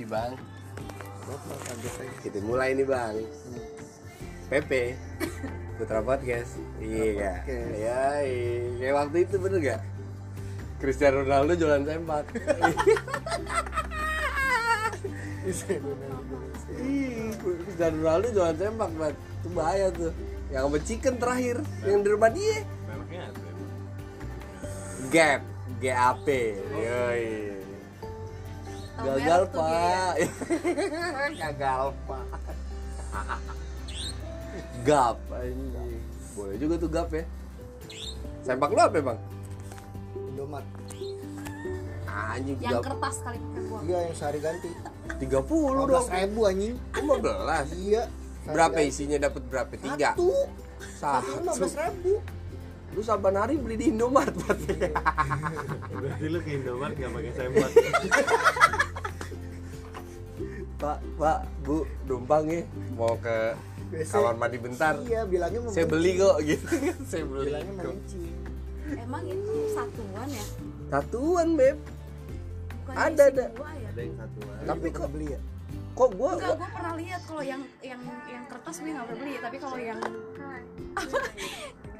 bang kita mulai nih bang PP Putra Podcast iya Podcast. iya iya. kayak waktu itu bener gak Cristiano Ronaldo jualan tembak Ih, Cristiano Ronaldo jualan tembak bang itu bahaya tuh yang sama chicken terakhir yang di rumah dia Mereknya apa ya? Gap GAP yoi Tahu gagal merek tuh pak gagal Iya, pak gap anjing. boleh juga tuh gap ya sempak lu apa bang Indomaret anjing Yang gap kertas kali bukan gua. iya yang sehari ganti 30 dong 15 ribu anjing 15 iya sehari berapa ganti. isinya dapat berapa tiga satu satu lima satu belas ribu lu saban hari beli di Indomaret berarti Berarti lu ke Indomaret nggak pakai sempak. pak pak bu numpang ya mau ke Biasa- kamar mandi bentar iya bilangnya mau saya beli kok gitu saya beli bilangnya memancing Emang itu satuan ya? tatuan beb Bukan Ada, isi ada. dua ya? Ada yang satu aja. Tapi Lu kok- pernah beli ya kok gua, Enggak, gua gue pernah lihat kalau yang yang yang kertas gue nggak pernah beli, tapi kalau yang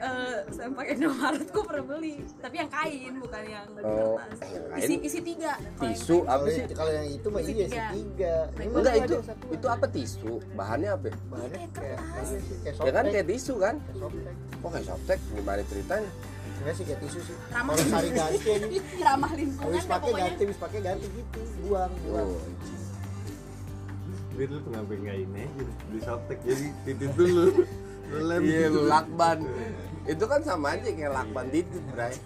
eh sampai Indomaret gue pernah beli, tapi yang kain bukan yang Oh, kertas. yang kain. Isi isi tiga. Kalau yang tisu kain- apa kalau sih yang- kalau yang itu mah Isi iya tiga. tiga Ini enggak mah ada itu yang satu. itu apa tisu bahannya apa ya? bahannya Kayak kayak kertas. iya sih, kayak ya kan softtek. kayak tisu kan Kayak softtek. kok kayak softtek gimana ceritanya Sebenarnya sih kayak tisu sih Ramah. kalau sehari ganti anjing ramah lingkungan habis dah pakai pokoknya. ganti habis pakai ganti gitu buang buang oh Biar lu kenapa ngain aja beli softtek jadi titit dulu. Lu lem iya dulu. lakban itu kan sama aja kayak lakban titit bray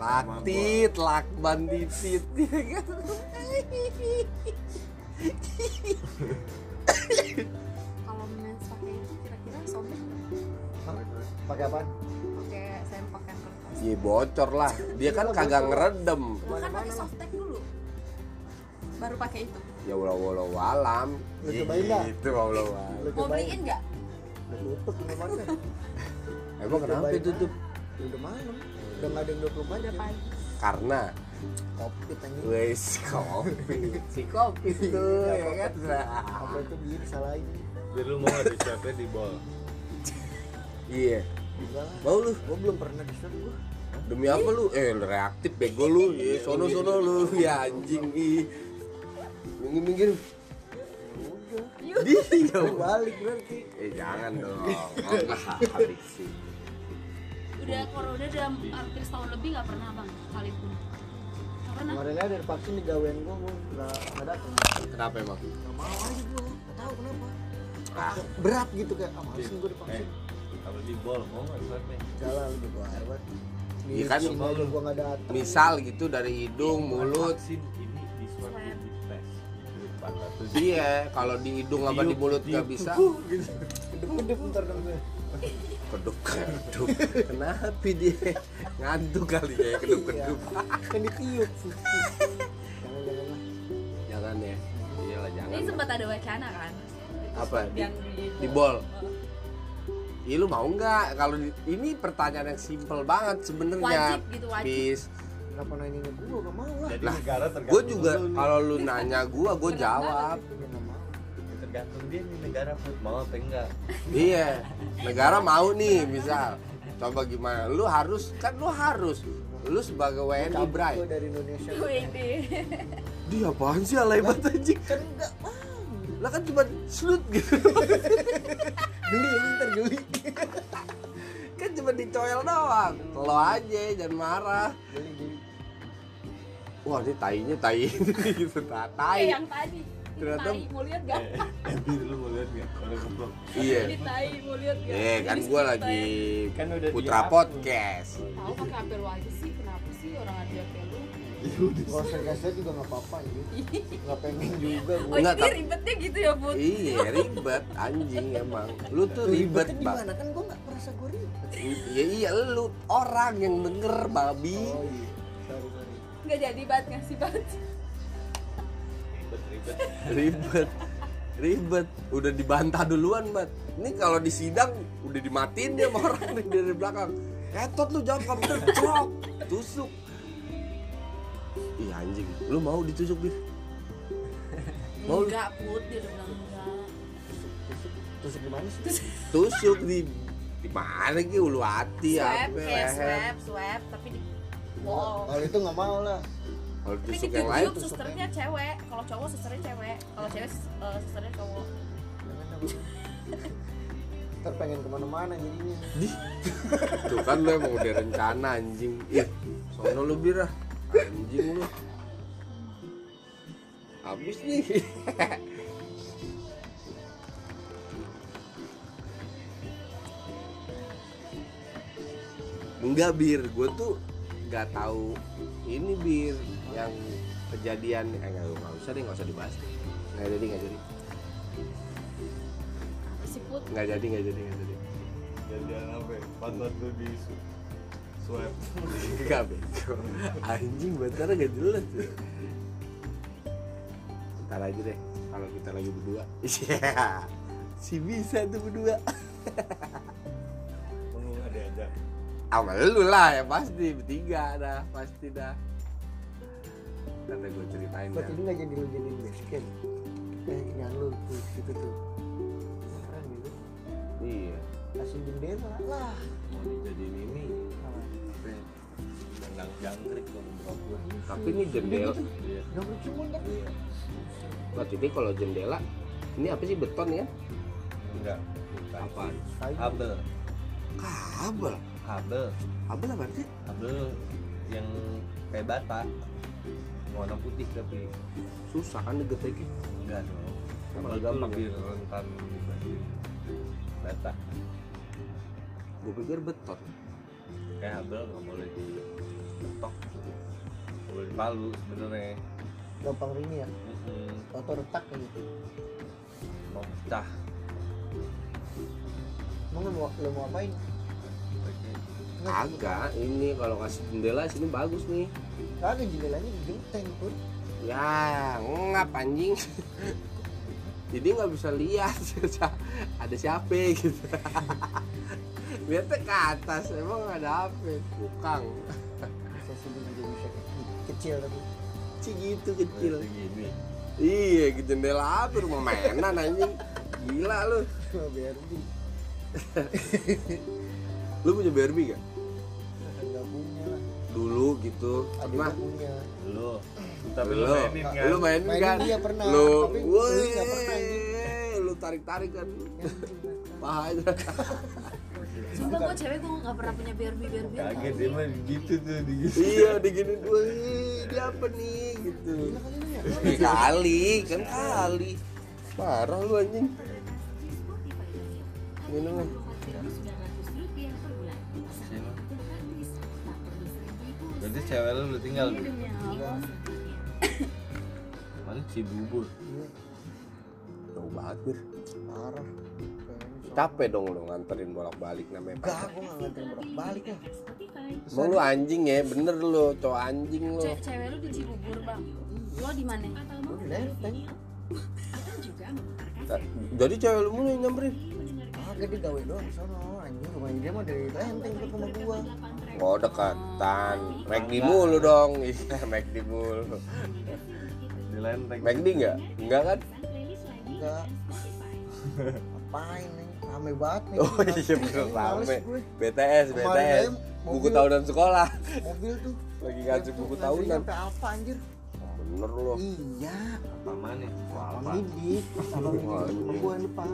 laktit lakban titit ya kan? Kalau mens pakai itu kira-kira sobek pakai apa pakai sempak yang kertas. iya bocor lah dia kan kagak ngeredem Gue kan pakai softtek dulu, baru pakai itu. ya Gitu, walau walau walam Lu cobain dah. itu walau Lu walam Mau cobain. beliin nggak? udah tutup ini mana emang Eh, kenapa Cobain tutup aja. udah malam udah nggak ada yang dua puluh Udah pagi. karena kopi tanya wes kopi si kopi tuh ya kan apa itu biar disalahin Biar lu mau ada capek di bol. iya enggak lah mau lu gue belum pernah di shop gue Demi apa lu? Eh lu reaktif bego lu, ya sono sono lu, ya anjing ih. Minggir minggir. Iya. Dia balik berarti Eh jangan dong, nggak habis sih. Udah corona udah hampir setahun lebih nggak pernah bang kali pun. Nggak pernah. kemarin aja dari vaksin di gawean gue gue nggak nggak datang Kenapa emang? nggak mau aja gue nggak tahu kenapa Ah, berat gitu kayak ah malesin gue Eh, divaksin apa di bol mau nggak lu nih? jalan udah gue air banget Di Iya kan? sini aja gue nggak datang misal gitu dari hidung, mulut. Vaksin ini di swab di tes. Di 400. Iya, kalau di hidung apa di Tiup, mulut nggak tiup. bisa, Huh, gitu. kedep kedep ntar dong gue keduk keduk. Kenapa dia ngantuk kali ya keduk keduk? kan ditiup jangan jangan lah Jangan ya, iyalah jangan. Ini sempat ada wacana kan? Apa? Di- Yang Oh, di, di bol. Iya lu mau nggak? Kalau di- ini pertanyaan yang simple banget sebenarnya. Wajib gitu, wajib. Bis. kenapa nanya gue gak mau lah Jadi Lah, negara Gue tergantung juga lu nih. kalau lu nanya gue, gue Kenapa jawab. gue nggak mau tergantung dia nih negara mau apa enggak. Iya. Negara mau nih, misal. Coba gimana? Lu harus kan lu harus. Lu sebagai WNI Cabut Bray. gue dari Indonesia Wede. Dia apaan sih alay banget anjing? kan nggak mau Lah kan cuma slut gitu. geli ya ntar geli kan cuma dicoel doang. Lo aja jangan marah. geli geli Wah, ini tainya tai gitu. Tai. Eh, yang tadi. Ini Ternyata- tai, mau lihat gak? Jadi Eh, lu mau lihat nggak? Kalau goblok. Iya. Ini tai, mau lihat gak? Eh, kan Ini gue script lagi Kan udah Putra dihapus. Podcast. Tahu pakai HP lu aja sih, kenapa sih orang ada di HP lu? kalau saya kasih juga nggak apa-apa gitu nggak pengen juga Oh, gue Enggak, jadi tapi- ribetnya gitu ya, Bud? Iya, ribet anjing emang. Lu tuh ribet, Ribetnya Bang. gimana kan gue nggak merasa gue ribet Ya iya lu orang yang denger babi. oh iya sorry sorry Enggak jadi banget ngasih banget. Ribet-ribet. Ribet. Ribet. Udah dibantah duluan, Bat. Ini kalau di sidang udah dimatiin dia sama orang nih dari belakang. Ketot lu jawab kamu cok. Tusuk. Iya anjing, lu mau ditusuk, Bif? Mau lu- enggak put dia udah bilang enggak Tusuk, tusuk, tusuk di mana sih? tusuk di di mana ki ulu hati swab ya, apa kayak Iya, leher swab swab tapi di Oh. wow Kalau itu nggak mau lah. kalau tapi tusuk yang lain diguyup susternya cewek kalau cowok susternya cewek kalau cewek eh, susternya cowok Ntar pengen kemana-mana jadinya. tuh kan lu emang udah rencana anjing ih sono lu birah anjing lu habis nih enggak bir gue tuh nggak tahu ini bir yang kejadian eh nggak nggak usah deh nggak usah dibahas nggak jadi nggak jadi apa sih put nggak jadi nggak jadi nggak jadi Jadian apa ya? Pantat lu di su- swab Gak bego Anjing bantarnya gak jelas ya. Ntar aja deh Kalau kita lagi berdua Iya Si bisa tuh berdua Lu nggak diajak Sama lu lah ya pasti Bertiga dah Pasti dah Nanti gue ceritain ya. Buat dah ini nggak jadi lu jadiin basket. Kayak kenyan lu tuh gitu tuh. Keren gitu. Iya Kasih bendera lah. Mau dijadiin ini Apa? Tendang jangkrik sama bokap gue Tapi ini jendela Iya Nggak percuma kan? Buat ini kalau jendela Ini apa sih beton ya? Enggak Bukan Apaan? Kayu. Habel Kabel Habel Kabel apa sih? Habel yang kayak bata Warna putih tapi Susah kan digetekin ya? Enggak dong Emang Habel itu gampang gitu. lebih lebih rentan dibanding bata Gue pikir beton Kayak habel nggak boleh diketok gitu Nggak boleh palu sebenarnya Gampang ini ya. Mm-mm. Atau retak gitu. mau pecah Emang lu mau, lu mau apain? Agak ini kalau kasih jendela sini bagus nih Kagak jendelanya genteng pun. Ya, ngap anjing. Jadi nggak bisa lihat ada siapa gitu. Lihatnya ke atas, emang ada apa? Tukang. Bisa sini juga bisa ke- kecil tapi. Ci gitu kecil. segini Iya, ke jendela apa rumah mainan anjing. Gila lu. BRB Lu punya Barbie gak? nggak punya lah. Dulu gitu. Ada Mah, yang punya. lu tapi lu lu, mainin kan lu mainin Mainin kan? dia pernah, Lu, tapi woi, beli nggak pernah, lu tarik-tarik kan. Yang punya. Pahanya. sumpah kan? gue cewek gue nggak pernah punya BRB BRB kaget dia mah gitu tuh di gitu iya diginin dua "Ih, dia apa nih gitu Gila kali lu ya. Ih, kali kan kali parah lu anjing Minum lah. jadi cewek lu udah tinggal tuh mana si bubur Iya, jauh banget Bir. Parah. capek dong lo nganterin bolak balik namanya Enggak, aku nggak nganterin bolak balik lah. Emang lu anjing ya, bener lu, cowok anjing lu Ce- cewek lu di Cibubur bang lo di mana Lu di lenteng. Ta- Jadi cewek lu mulu yang nyamperin Kagak dia gawe doang sono anjing rumahnya dia mah dari lenteng ke rumah gua. Oh dekatan McD mulu dong Iya McD mulu di lenteng McD nggak? Nggak kan? Enggak. Apain nih? Rame banget nih. Oh iya Males bener rame gue. BTS, BTS Kemarin aja Buku mobil- tahunan sekolah Mobil tuh. Lagi ngasih buku Nganterin tahunan Sampai apa anjir? Bener lu Iya. apa mana Abang ya. apa Didik, abang Didik Anjing. sama gua yang depan.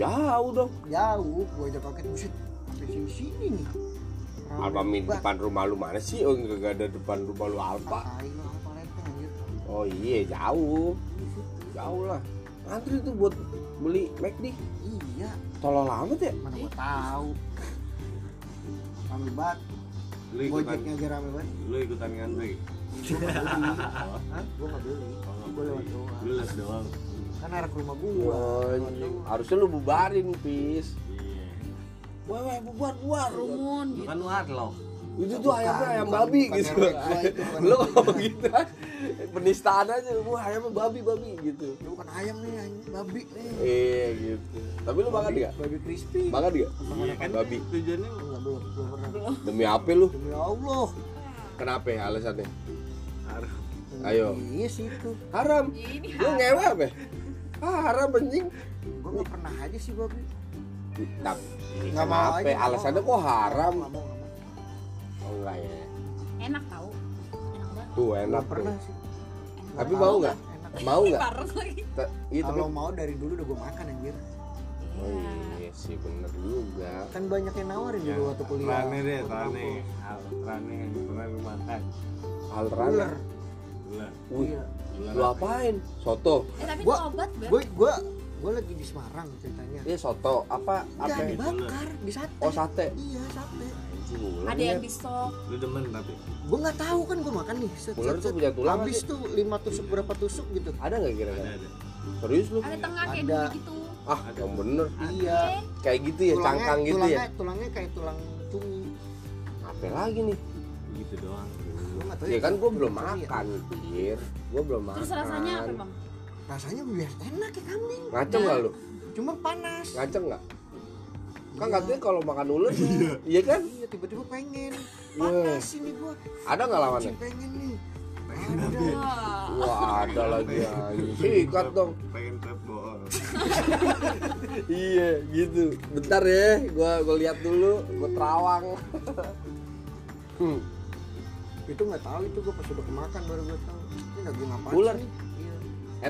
Jauh dong Jauh, gua aja kaget buset. Sampai sini sini nih. Rame Alpa min banget. depan rumah lu mana sih? Oh enggak ada depan rumah lu Alpa. Tai lu apa lenteng anjir. Oh iya jauh. Jauh lah. Ngantri tuh buat beli McD. Iya, Tolong amat ya. mana gua tahu. Rame banget. lu ikutan Gojeknya aja rame banget. lu ikutan kan, Iya. ngantri Hah? Gua nggak beli. Oh, Gua lewat doang. lu les doang Kan arah ke rumah gua. Lewat doang. Harusnya lu bubarin, Pis. iya Wah, wah, bubar, bubar. rumun lu gitu kan warlock Itu tuh ayamnya Bukan, ayam bukan, babi bukan gitu. merek gua itu, bukan Lu merek kalau gitu penistaan aja, wah ayamnya babi, babi gitu. Ini bukan ayam nih, anjing. babi nih. Iya gitu. Tapi lu makan enggak? Babi crispy. Makan enggak? Iya, Babi. Iya kan? tujuannya Enggak belum, belum pernah. Demi apa lu? Demi Allah. Kenapa ya alasannya? harus Ya Ayo. Iya sih itu. haram Ya, ini lu hal. ngewe apa ya? ah, haram anjing Gue nggak pernah aja sih gue. tapi Ini Nggak mau kenapa aja, nggak alasannya mau. kok haram Nggak mau, nggak mau. oh enggak ya enak tau enak banget tuh enak Nggak tuh pernah sih. enak Tapi Nggak mau tahu nggak? kan, Enak. mau nggak parah lagi Te- iya tapi Kalau mau dari dulu udah gue makan anjir. oh iya sih bener juga Kan banyak yang nawarin dulu waktu kuliah. Rane deh, Waktu rane, aku- rane yang pernah lu makan, hal Ular. rana ular, wih Iya. ular. lu apain soto Eh, tapi itu Gua- obat Bel. Gue gue gue lagi di Semarang ceritanya. iya soto apa Enggak apa dibakar, di sate. oh sate Iya sate. Anjing, ular ada yang ya. disok Lu demen tapi. Gue nggak tahu kan gue makan nih. Set, ular set, tuh set. punya tulang Habis tuh lima tusuk berapa tusuk gitu. ada nggak Ada kira-kira ada. serius lu ada tengah kayak Ada. dulu gitu ah Ada. yang bener Iya. Eh, kayak gitu ya cangkang gitu tulangnya, ya Tulangnya kayak tulang cumi. apa lagi nih Gitu Begitu doang. Gue nggak tahu. ya kan gue belum Cumi ya. makan bir gue belum makan Iya. terus rasanya apa bang Iya. Rasanya biasa enak ya kambing. ngaceng nggak lu Cuma panas. ngaceng nggak kan Iya. katanya kalau makan ular iya kan Iya tiba-tiba pengen. Wah. Panas ini gue. ada nggak lawannya Pengen nih. Pengen Ada. tapi. Wah. wah Iya. ada lagi anjing. sikat dong Pengen trap bool. iya gitu bentar ya gue gue lihat dulu gue terawang hmm. Itu nggak tahu itu gue pas udah kemakan baru gue tahu. Ini lagi ngapain? Ular. sih? Iya.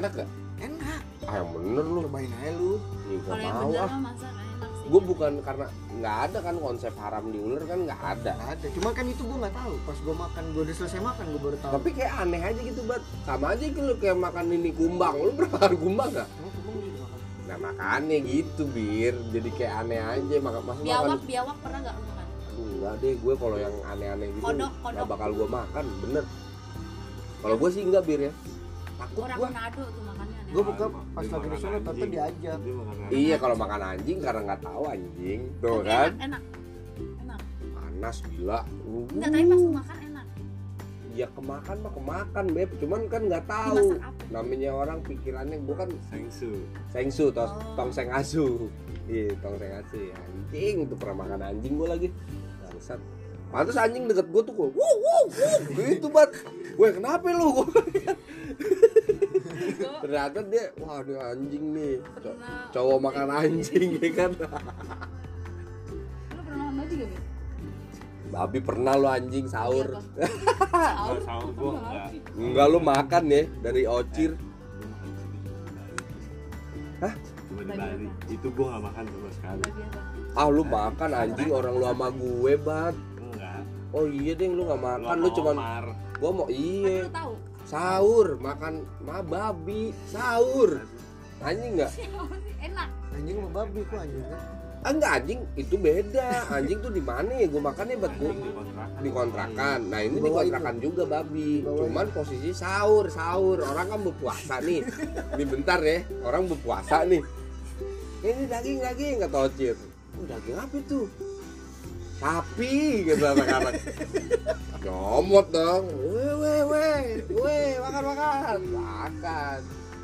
enak gak Enak. ah yang bener lu Cobain aja lu. Ih, gua kalau yang mau bener ah mah masa nggak enak sih gue bukan karena nggak ada kan konsep haram di ular kan nggak ada Nggak ada. Cuma kan itu gue nggak tahu. Pas gue makan gue udah selesai makan gue baru tahu. tapi kayak aneh aja gitu bat sama aja gitu lu kayak makan ini kumbang lu pernah makan kumbang gak? Emang kebun gitu makan. nah makannya gitu bir jadi kayak aneh aja makan masa makan biawak biawak pernah nggak lu makan Aduh, kan, enggak deh gue kalau yang aneh-aneh gitu Kodok, nggak kodok. bakal gue makan bener kalau gue sih enggak bir ya takut orang gue Manado tuh makannya aneh Gue buka pas lagi di sana tante Dia diajak. makan anjing. iya kalau makan anjing karena nggak tahu anjing tuh Tapi kan enak enak enak panas gila enggak tapi pas lu makan enak ya kemakan mah kemakan beb cuman kan nggak tahu dimasak apa namanya orang pikirannya gue kan Sengsu. sengsu tos, Oh. tong seng asu iya tong seng asu ya. anjing tuh pernah makan anjing gue lagi bangsat pantas anjing deket gue tuh gue wuh wuh wuh gitu bat weh kenapa lu Gua- Gua ternyata dia wah ini anjing nih Co- pernah cowok makan anjing ya kan lu pernah makan babi gak Beb? babi pernah lu anjing sahur Iya, Pak. sahur Nggak, sahur gua nggak. enggak lu makan ya dari ocir Gua makan babi cuma di Bali. Hah? Cuma di Babi Bali. Itu gue gak makan sama sekali. Babi apa? ah lu makan anjing orang lu sama gue bat Enggak. oh iya deh lu nggak makan lu sama cuman Omar. gua mau Tapi iya lu tahu sahur makan ma babi sahur anjing nggak enak Anjing sama babi kok anjir kan. ah, nggak anjing itu beda anjing tuh di mana ya gue makannya buat gue Anjing di kontrakan. di kontrakan nah ini Di di bawah kontrakan juga babi cuman posisi sahur sahur orang kan berpuasa nih ini bentar ya orang berpuasa nih ini daging daging kata Ocir "Oh, daging apa itu sapi gitu anak-anak nyomot dong weh weh weh weh makan makan makan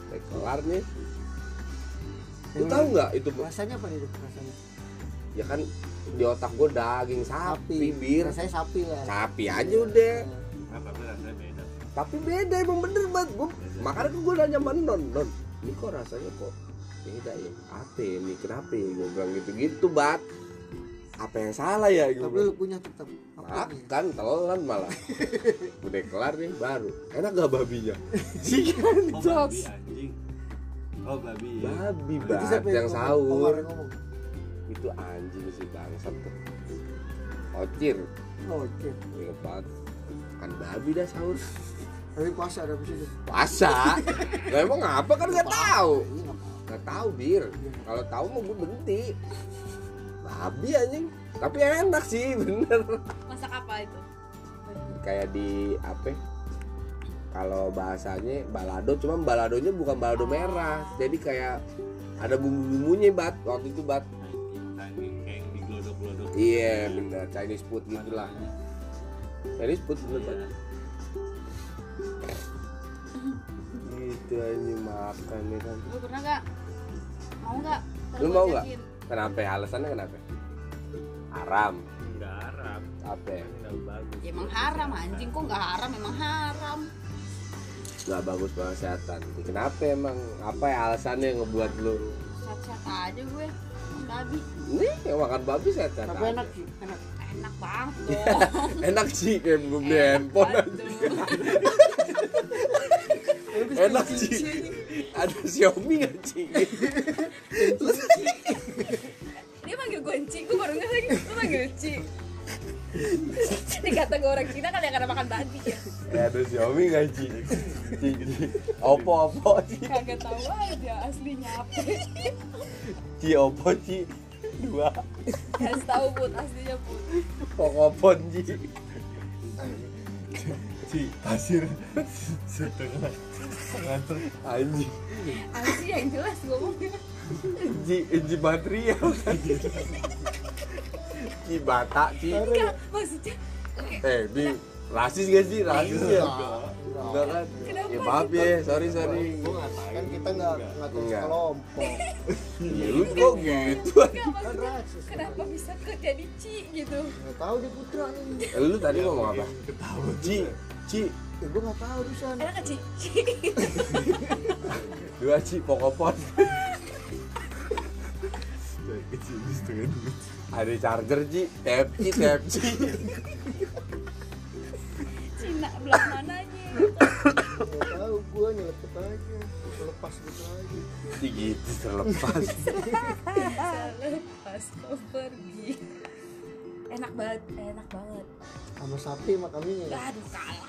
Udah kelar nih lu tahu nggak itu Rasanya apa itu rasanya? ya kan di otak gue daging sapi bir Rasanya sapi lah. sapi aja udah Nah, tapi rasanya beda. tapi beda emang bener banget gue makanya kan gue nanya sama non non ini kok rasanya kok beda ya apa ya ini kenapa ya gue bilang gitu gitu bat apa yang salah ya gue Iya. Tapi bilang lu punya tetap apa nih? makan telan malah udah kelar nih baru enak gak babinya sih kan Oh, Jos. babi anjing. Oh, babi. ya. babi Itu bat siapa yang ngomong? sahur Omar yang ngomong. itu anjing sih bangsat tuh ocir Oh, Oke. ya bat kan babi dah sahur Hari puasa ada bisa itu. puasa Lah emang apa kan gak tahu Ini nggak apa-apa. Gak tahu bir. Kalau tahu mau gue berhenti. Babi anjing. Tapi enak sih bener. masak apa itu Kayak di apa? ya? Kalau bahasanya balado, cuma baladonya bukan balado merah. Jadi kayak ada bumbu-bumbunya bat waktu itu bat. Anjing, anjing kayak yang diglodok-glodok. Iya bener Chinese food gitu lah. Chinese food bener Iya. bat. Gitu anjing makan ya kan. lu pernah nggak mau nggak Ntar Lu gua mau nggak? ajakin. Kenapa? ya? Alasannya kenapa? Haram. Enggak Arab. Apa? ya? Enggak Kan bagus. Iya. ya emang haram anjing kok nggak haram emang haram nggak bagus buat kesehatan kenapa emang apa ya alasannya yang ngebuat lu sehat-sehat aja gue babi nih yang makan babi sehat-sehat Tapi aja. enak sih, enak. enak banget Iya. loh enak sih kayak gue beli handphone enak sih ada Xiaomi nggak sih Dia manggil gue Enci, gue baru ngerti lagi Lu manggil Enci Dikata gue orang Cina kan yang karena makan babi ya ada Xiaomi nggak sih opo opo sih Kagak tahu aja aslinya apa ci opo ci dua Harus tahu Bud, aslinya Bud pokopon ci Ci, pasir setengah setengah tuh. anjing Asli yang jelas gue ngomongnya ci ci baterai ya kan? ci bata ci Enggak, maksudnya eh bi rasis gak sih rasis ya enggak kan Kenapa ya maaf ya sorry sorry Gua ngatain. Kan kita nggak nggak terus Enggak. kelompok. ya lu kok gitu Enggak, Kan maksudnya rasis. kenapa bisa kok jadi Ci gitu Nggak tahu di putra nih. Eh, lu Iya, tadi ngomong apa ci ci Ya gue nggak tahu di sana. Enak gak Ci? Ci dua ci pokopon Kecil setengah dua. ada charger ci tap ci tap ci Cina, belah mananya Nggak tahu gue nyelepet aja, lepas gitu aja. Ci gitu terlepas Selepas kau pergi Enak banget, enak banget Sama sapi sama kambing ya. Aduh kalah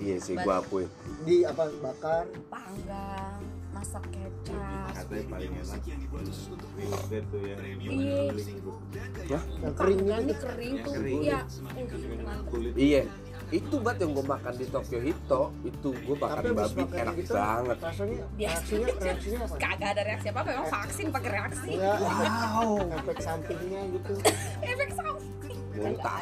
iya sih gua akuin Di apa bakar? Panggang, masak kecap Katanya paling enak. Ada tuh yang Iya. Yang keringnya Panggang ini gitu. kering Yang tuh kering. Iya, kulit iya itu bat yang gua makan di Tokyo Hito itu gua makan Tapi abis babi makan enak gitu, banget Rasanya Biasanya reaksinya reaksinya apa? kagak ada reaksi apa-apa Emang vaksin pakai reaksi Iya. Enggak. Wow. Efek sampingnya gitu. Efek samping muntah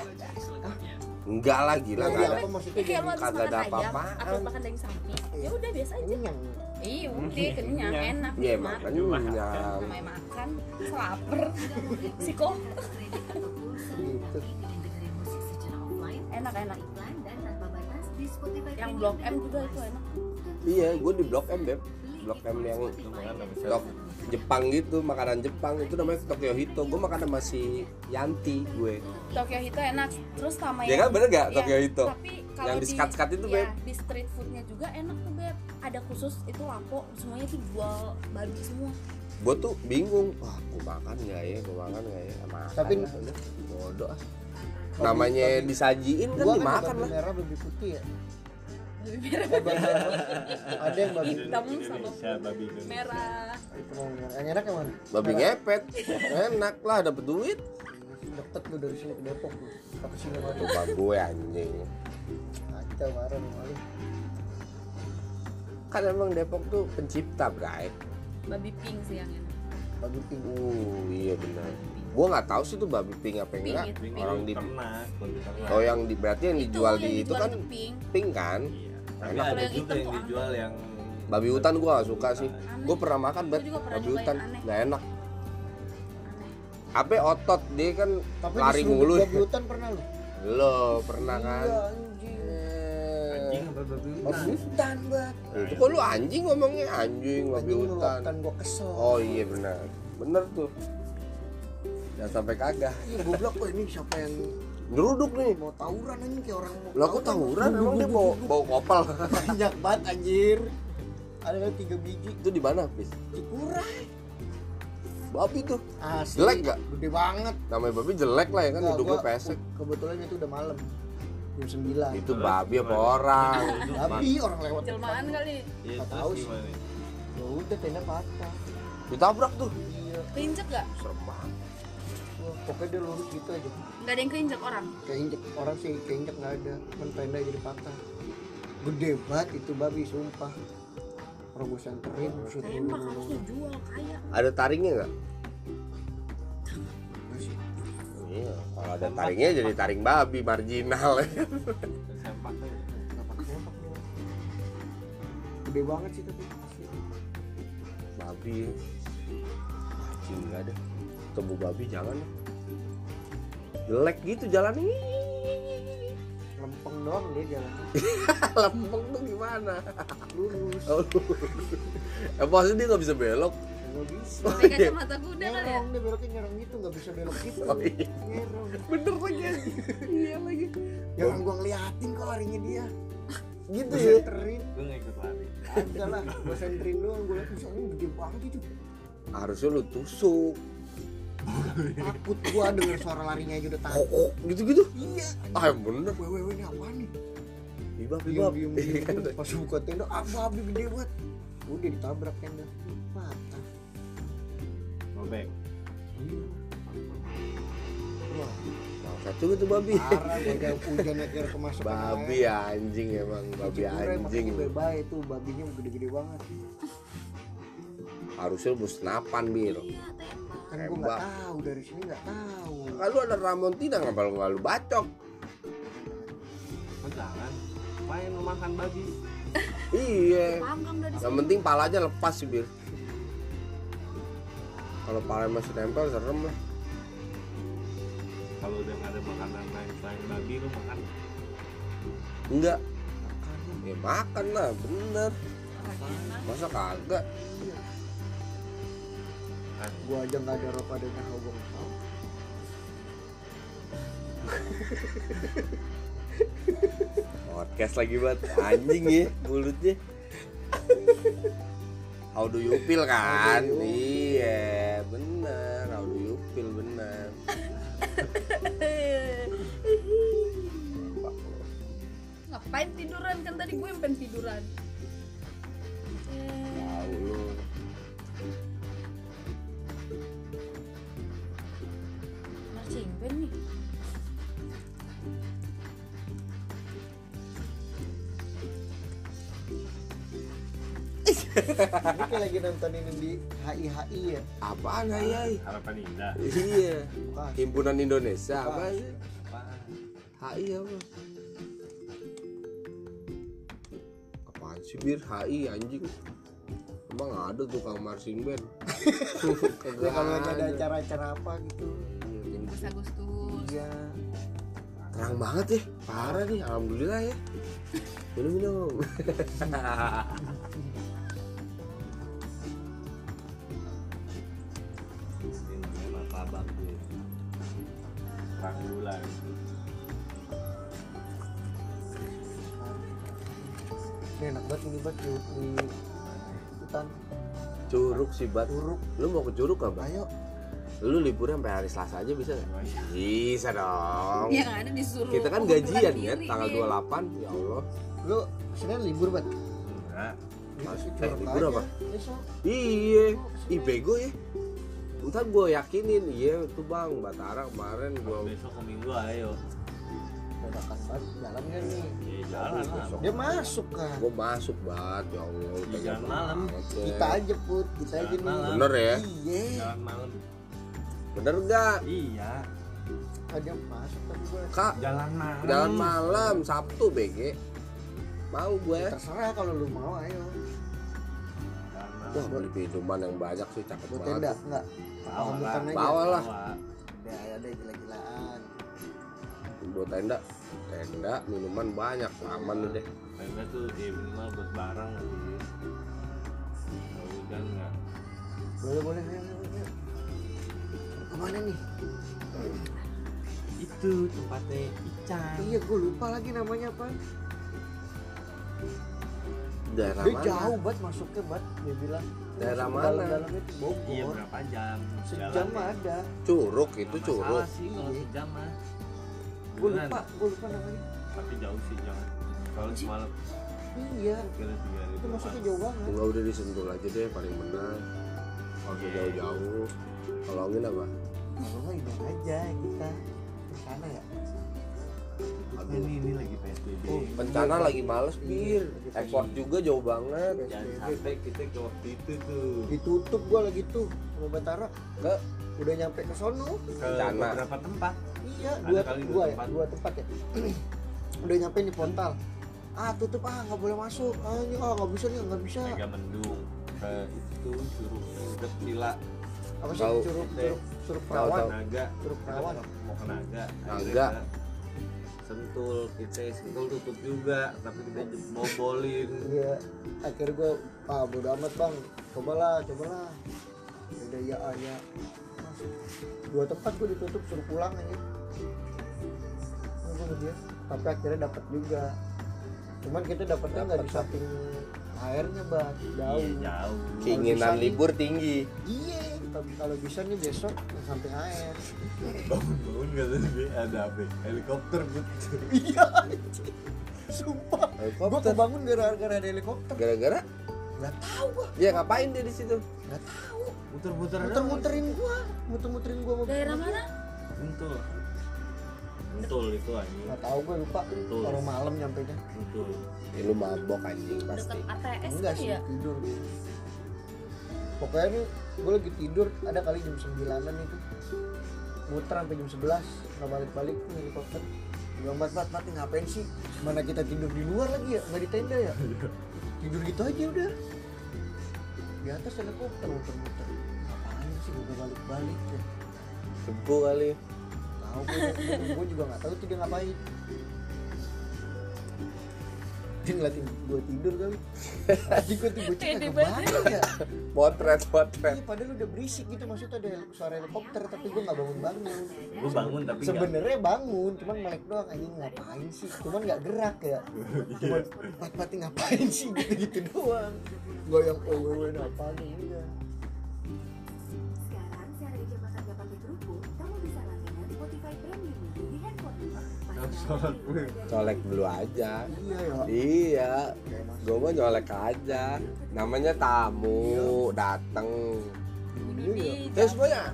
enggak lah gila Lagi enggak ada apa maksudnya Ya, kayak lo jadi habis Kagak makan ada ayam apa-apaan. atau makan daging sapi ya udah biasa aja kenyang. iya udah kenyang enak ya Hmm. emang nikmat. Iya. kenyang namanya makan selaper siko Gitu. enak enak yang blok M juga itu enak iya gua di Blok M beb Blok M yang Blok Jepang gitu makanan Jepang itu namanya Tokyo Hito gua makan sama si Yanti gue Tokyo Hito enak terus sama ya kan bener gak Tokyo Hito tapi iya. kalau Yang di sekat-sekat itu, iya, Beb. di street foodnya juga enak tuh beb ada khusus itu lapo semuanya tuh jual babi semua gue tuh bingung wah gue makan nggak ya gue makan nggak ya makan Tapi- lah, udah. bodoh ah. namanya disajiin kan Gua kan dimakan babi lah merah babi putih ya. babi merah Eh, babi merah. Ada yang babi Hitam sama Indonesia babi Indonesia. merah itu mau yang yang enak yang mana? babi Merah. ngepet enak lah dapet duit Deket lu dari sini ke Depok lu. Pakai sini baru. coba gue anjing Ada marah malu. kan emang Depok tuh pencipta bray babi pink sih yang enak Babi pink. uh iya benar gue nggak tahu sih tuh babi pink apa enggak Pink ya. Ini orang di ternak, kulit ternak. oh yang di berarti yang dijual yang di itu dijual kan itu pink pink kan Iya. Tapi Enak. Kalau ada yang juga hitam yang tuh dijual yang babi hutan gue nggak suka sih gue pernah makan bet Gua juga pernah babi nyobain, hutan aneh. nggak enak apa otot dia kan Tapi lari diseruduk mulu Babi hutan pernah lu? lo pernah kan Iya, Oh, anjing. Anjing apa babi hutan? Babi hutan banget. itu kok lu anjing ngomongnya anjing babi Anjing lu hutan makan gua kesel. oh iya benar bener tuh jangan sampai kagak Iya goblok wah ini siapa yang nyeruduk nih mau tawuran anjing kayak orang mau. lo aku tawuran emang dia bawa bawa kopal banyak banget anjir. Ada kan tiga biji itu di mana bis cikurai. babi tuh Asli. Jelek nggak? Gede banget. namanya babi jelek lah ya kan Nggak, hidungnya gua- pesek Iya, Kebetulan itu udah malam. Jam 9. itu babi apa Ah, orang Tapi orang lewat jelmaan kali Iya, Nggak terus tahu sih. gimana? Ya udah tenda patah. ditabrak tuh Iya. keinjek gak? serem banget Wah, Pokoknya dia lurus gitu aja. nggak ada yang keinjak orang Keinjek orang sih keinjek nggak ada. Cuman tenda jadi patah. Gede banget itu babi sumpah. Orang gue senterin. buset, tembak harus dijual kaya ada taringnya nggak Gimana sih? Iya, kalau ada taringnya jadi taring babi marginal. Sempak tuh. Nggak pakai sempak dia. Gede banget sih tapi. asli. babi ya. anjing nggak ada temu babi jangan jelek gitu jalannya Lem lempeng doang dia jalan lempeng tuh gimana lurus oh, eh maksudnya dia nggak bisa belok nggak bisa pakai kacamata kuda kali ya nyerong dia beloknya nyerong gitu nggak bisa belok gitu Oh, iya. nyerong bener lagi iya lagi jangan gua ngeliatin kok larinya dia gitu gua ya senterin gue nggak ikut lari ada lah gua senterin doang gua liat misalnya gede banget itu harusnya lu tusuk takut gua denger suara larinya aja udah takut kokok gitu gitu iya ah yang bener wewe ini apaan nih Iya. ibab diem ibab diem diem pas buka tenda abu abu gede banget udah ditabrak tenda patah Iya. robek Wah, satu gitu babi parah udah hujan aja kemasuk babi anjing emang babi anjing bye tuh babinya gede-gede banget harusnya lu senapan bir iya tembak kan gua Tembak. nggak tahu dari sini nggak tahu kalau ada ramon tidak nggak kalau nggak lu bacok jangan main lu makan babi iya paham kamu dari yang penting palanya lepas sih bir kalau palanya masih nempel serem lah kalau udah nggak ada makanan lain selain babi lu makan enggak ya makan lah bener masa kagak gua aja nggak ada rokok ada yang tahu gua nggak tahu podcast lagi banget anjing ya mulutnya how do you feel kan How do you iya bener how do you feel bener Ngapain tiduran kan tadi gue pengen tiduran. tahu lu Marching band nih. ini kayak lagi nonton ini di HI ya apaan ayai harapan indah iya bukan himpunan Indonesia apa Apaan? sih apaan HI apa apaan sih bir HI anjing emang ada tukang marching band ya Kagak Iya, kalau lagi ada acara-acara apa gitu Agus Agustus iya terang banget ya parah nih alhamdulillah ya minum minum ini namanya martabak gue terang bulan ini enak banget ini buat di di hutan curug sih bat buruk lu mau ke curug gak bat ayo lu liburan sampai hari selasa aja bisa gak bisa dong yang ada disuruh Iya, kita kan mengumpulkan gajian diri ya nih. tanggal 28 ya Allah lu senin libur banget nah eh, libur apa? besok Iya, Eh, ih bego ya. Ntar gue yakinin, iya tuh bang, Batara kemarin Iya, gue besok ke minggu ayo dadakan banget dalamnya nih Iya. ya jalan lah dia masuk kan gue masuk banget, ya Allah. Iya, pengen jangan malam. banget ya. kita aja put kita aja nih Malam. Bener ya, iya jalan malam bener gak? iya ada masuk tapi gua Kak, jalan malam jalan malam Sabtu BG. Mau gue? Ya, terserah kalau lu mau ayo Jalan malam. Wah beli minuman yang banyak sih cakep buat tenda banget. enggak Bawa lah. Pamungkan aja. Bawa lah. ya ada gila-gilaan Buat tenda, tenda minuman banyak, aman deh. Tenda tuh ya minimal buat barang sih. Kalau hujan nggak. boleh boleh ayo, ayo, ayo. kemana nih Itu tempatnya Ican. iya gua lupa lagi namanya apa Daerah dia mana? Eh, jauh banget masuknya banget dia bilang Daerah Masuk ke mana? dalam-dalam itu Iya Bogor berapa jam? sejam Jalan. ya. ada Curug Nggak itu masalah curug. sih kalau Iya. sejam mah. gua Beneran. lupa gua lupa namanya Tapi jauh sih jangan. Kalau semalam iya kira tiga itu ribu. masuknya jauh banget Enggak udah disentuh aja deh paling benar. Oke Oke. jauh-jauh. Kalau angin apa? kalau nggak ini aja kita ke sana ya Aduh. Ini ini lagi PSBB. Oh. Iya, Bencana lagi males bir. Ekspor juga jauh banget. Jangan sampai kita ke waktu itu tuh ditutup gua lagi tuh sama Batara Ke udah nyampe ke sono ke Bencana. beberapa tempat. iya Ada dua kali dua dua ya tempat. dua tempat ya udah nyampe di Pontal ah tutup ah nggak boleh masuk ah ini ah nggak bisa nih nggak bisa Mega mendung ke itu curug Dek Pila apa sih Tahu. curug Deh. curug curug Tahu, perawan tahu. Naga curug Kita perawan mau- mau ke naga Naga. sentul kita sentul tutup juga tapi kita bobolin Iya, akhirnya gue ah bodo amat bang, cobalah, cobalah. Ada ya ah, ya. Dua tempat gue ditutup suruh pulang aja. Ini gua dia. Tapi akhirnya dapat juga. Cuman kita dapatnya nggak di samping airnya bang, jauh. Iya, jauh Kalau Keinginan bisa libur tinggi. Iya, tapi kalau bisa nih besok ke samping air. bangun bangun nggak sih ada apa ya? helikopter gitu Iya, anjing. sumpah. Gue Helikopter. kebangun gara-gara ada helikopter. Gara-gara Nggak tahu gua, ya ngapain dia di situ? nggak tahu. muter-muter Muter-muterin gua, muter-muterin gua. sama- daerah mana sentul sentul itu anjing Nggak tahu gue lupa. Betul. Orang malam nyampe nya. sentul Ya, lu mabok anjing pasti. deket ATS Enggak kan sih ya tidur. Pokoknya nih gue lagi tidur ada kali jam 9-an itu. Muter sampai jam 11 nggak balik-balik nih helikopter. Gue mat mat mat ngapain sih? Mana kita tidur di luar lagi ya? Nggak di tenda ya? tidur gitu aja udah. Di atas helikopter muter-muter. Ngapain sih gue balik-balik ya? Sebu kali. Tahu gue, gue juga nggak tahu tuh dia ngapain. Dia ngeliatin gue tidur kali. Tadi gue tuh bocah Pede kagak banget. bangun ya. Potret, potret. Iya, padahal udah berisik gitu maksudnya ada suara helikopter tapi gue nggak bangun bangun. gue bangun tapi nggak- Sebenarnya bangun, cuman melek doang anjing ngapain sih? Cuman nggak gerak ya. Cuman pat pati ngapain sih gitu gitu doang. Gak yang oh gue apa nih Iya. enggak. Sekarang sehari aja makan gak pakai kerupuk, kamu bisa langganan Spotify Premium di handphone. Harus sholat gue. Colek dulu aja. Iya ya. Iya, Kayak mas- gue mah nyolek aja. Namanya tamu dateng. Iya, ya. Terus banyak.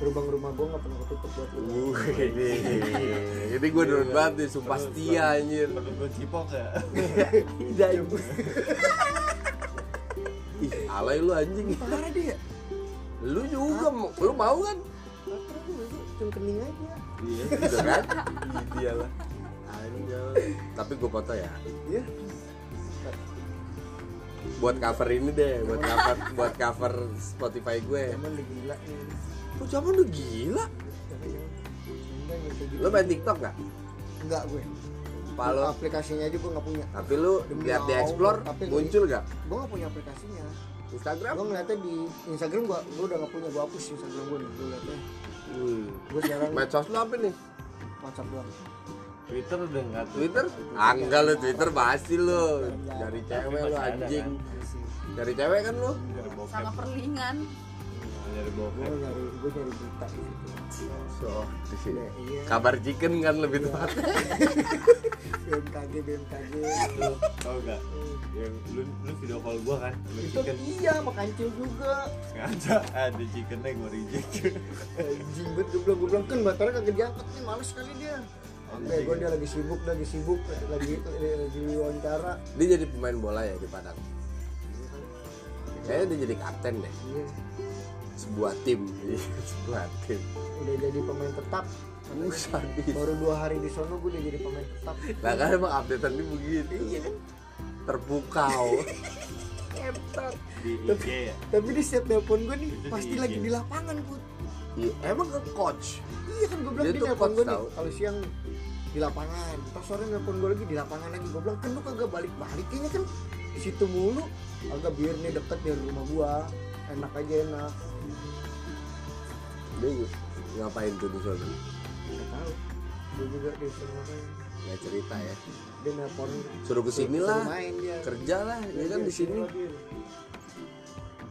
Gerbang rumah gue nggak pernah ketutup buat Iya. lu. Uh, Iya, Jadi gue nurut banget nih, sumpah setia anjir. perlu gue cipok ya Iya, Dan Ih, alay lu anjing. Parah dia. Lu juga mau, lu mau kan? Gak pernah gue gue cuma kening aja. Iya, gitu kan? Iya lah. Anjay. Tapi gue foto ya. Iya. Buat cover ini deh, buat cover buat cover Spotify gue. Cuman udah gila nih. Lu zaman lu gila. Lu main TikTok nggak? Enggak gue. Palo. Aplikasinya aja gue nggak punya. Tapi lu Demi lihat di Allah, explore tapi gua- muncul nggak? Gue nggak punya aplikasinya. Gue Instagram? ngeliatnya di Instagram gue, gue udah nggak punya, gue hapus Instagram gue nih, gue liatnya Hmm. Gue sekarang Medsos lu apa nih? WhatsApp doang twitter udah nggak tuh Twitter? Ah, enggak lu Twitter basi lu. Dari cewek lu masih ada, anjing. Iya sih. Dari cewek kan lu? nyari bokep sama perlingan nyari Gue bokep nyari, gue nyari berita di situ So, di sini. Nah, Iya, Kabar chicken kan lebih tepat. BMKG, BMKG gitu. lu tau gak yang lu lu video call gue kan lu Itu chicken iya, makancil juga sengaja Ah, ada chickennya gue reject Jimbet gue bilang, gue bilang, kan motornya kagak diangkat nih, males sekali dia Eh, gue dia lagi sibuk, lagi sibuk, lagi lagi diwawancara Dia jadi pemain bola ya di Padang. Kayaknya dia jadi kapten deh. Iya, Sebuah tim. Sebuah tim. udah jadi pemain tetap Uh, sadis. Baru dua hari di sono gue udah jadi pemain tetap Lah kan emang updatean dia begitu. Iya. Terpukau. di IG ya Tapi di setiap telepon gue nih, Itu di pasti IG. lagi di lapangan Put Iya, emang ke coach. Iya kan gue bilang Dia dia tuh nelpon coach gue nih tau. kalau siang di lapangan, pas sore nelpon gue lagi di lapangan lagi gue bilang kan lu kagak balik balik kayaknya kan di situ mulu agak biar nih deket dari rumah gua enak aja enak Dia ngapain tuh di sana? nggak tahu dia juga dia suruh main Nggak cerita ya. dia nelpon Suruh ke Hmm, sini suruh lah, main dia kerja lah. Dia kan Iya, di sini. lagi.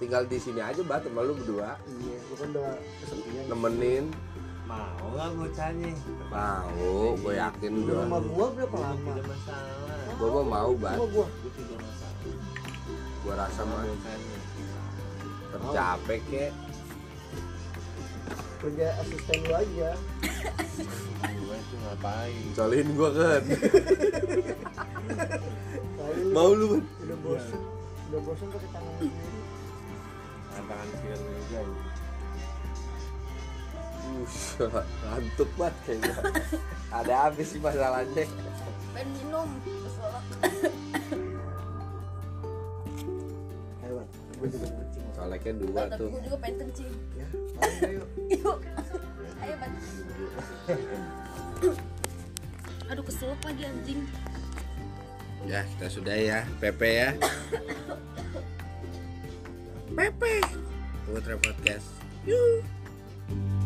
Tinggal di sini aja bat sama lu berdua. iya lu kan udah kesepian Nemenin. mau nggak gue tanya Mau, gue yakin Di dong. rumah Iya. gua berapa Gua lama Iya, tidak masalah Gue mau mau bat. rumah gua gue tidak masalah Gue rasa mah Gua tanya. tercapek kek. kerja asisten lu aja gue tuh ngapain Colin gue kan. kali lu Mau lu Bat? udah bosen udah bosen pakai tangan sendiri tantangan kiri juga ini. Buset, ngantuk banget kayaknya. Ada habis sih masalahnya. pengen minum keselak gue juga mau kencing Coleknya kan dua Tapi tuh. gue juga pengen kencing. ya malam deh, yuk Yuk. Ayo, Bat. aduh keselak lagi anjing Ya, kita sudah ya, Pepe ya. Pepe. Putra Podcast. Yuh.